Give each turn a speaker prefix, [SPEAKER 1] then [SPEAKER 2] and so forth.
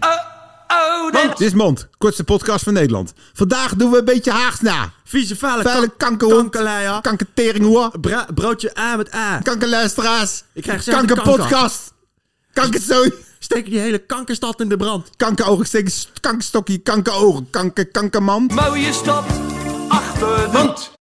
[SPEAKER 1] Oh,
[SPEAKER 2] Dit is Mand, kortste podcast van Nederland. Vandaag doen we een beetje Haags na.
[SPEAKER 3] Vieze vuile,
[SPEAKER 2] Vuile
[SPEAKER 3] kank-
[SPEAKER 2] kankerhond.
[SPEAKER 3] kankerlei, hoor.
[SPEAKER 2] Kankertering hoor.
[SPEAKER 3] Bra- broodje A met A.
[SPEAKER 2] Kankerluisteraars.
[SPEAKER 3] Ik krijg zelf de
[SPEAKER 2] Kankerpodcast. Kankerzoon.
[SPEAKER 3] Steek die hele kankerstad in de brand.
[SPEAKER 2] Kankerogen, steek- kankerstokje, kankerogen, kanker, kankerman.
[SPEAKER 1] Mooie stad achter de hand.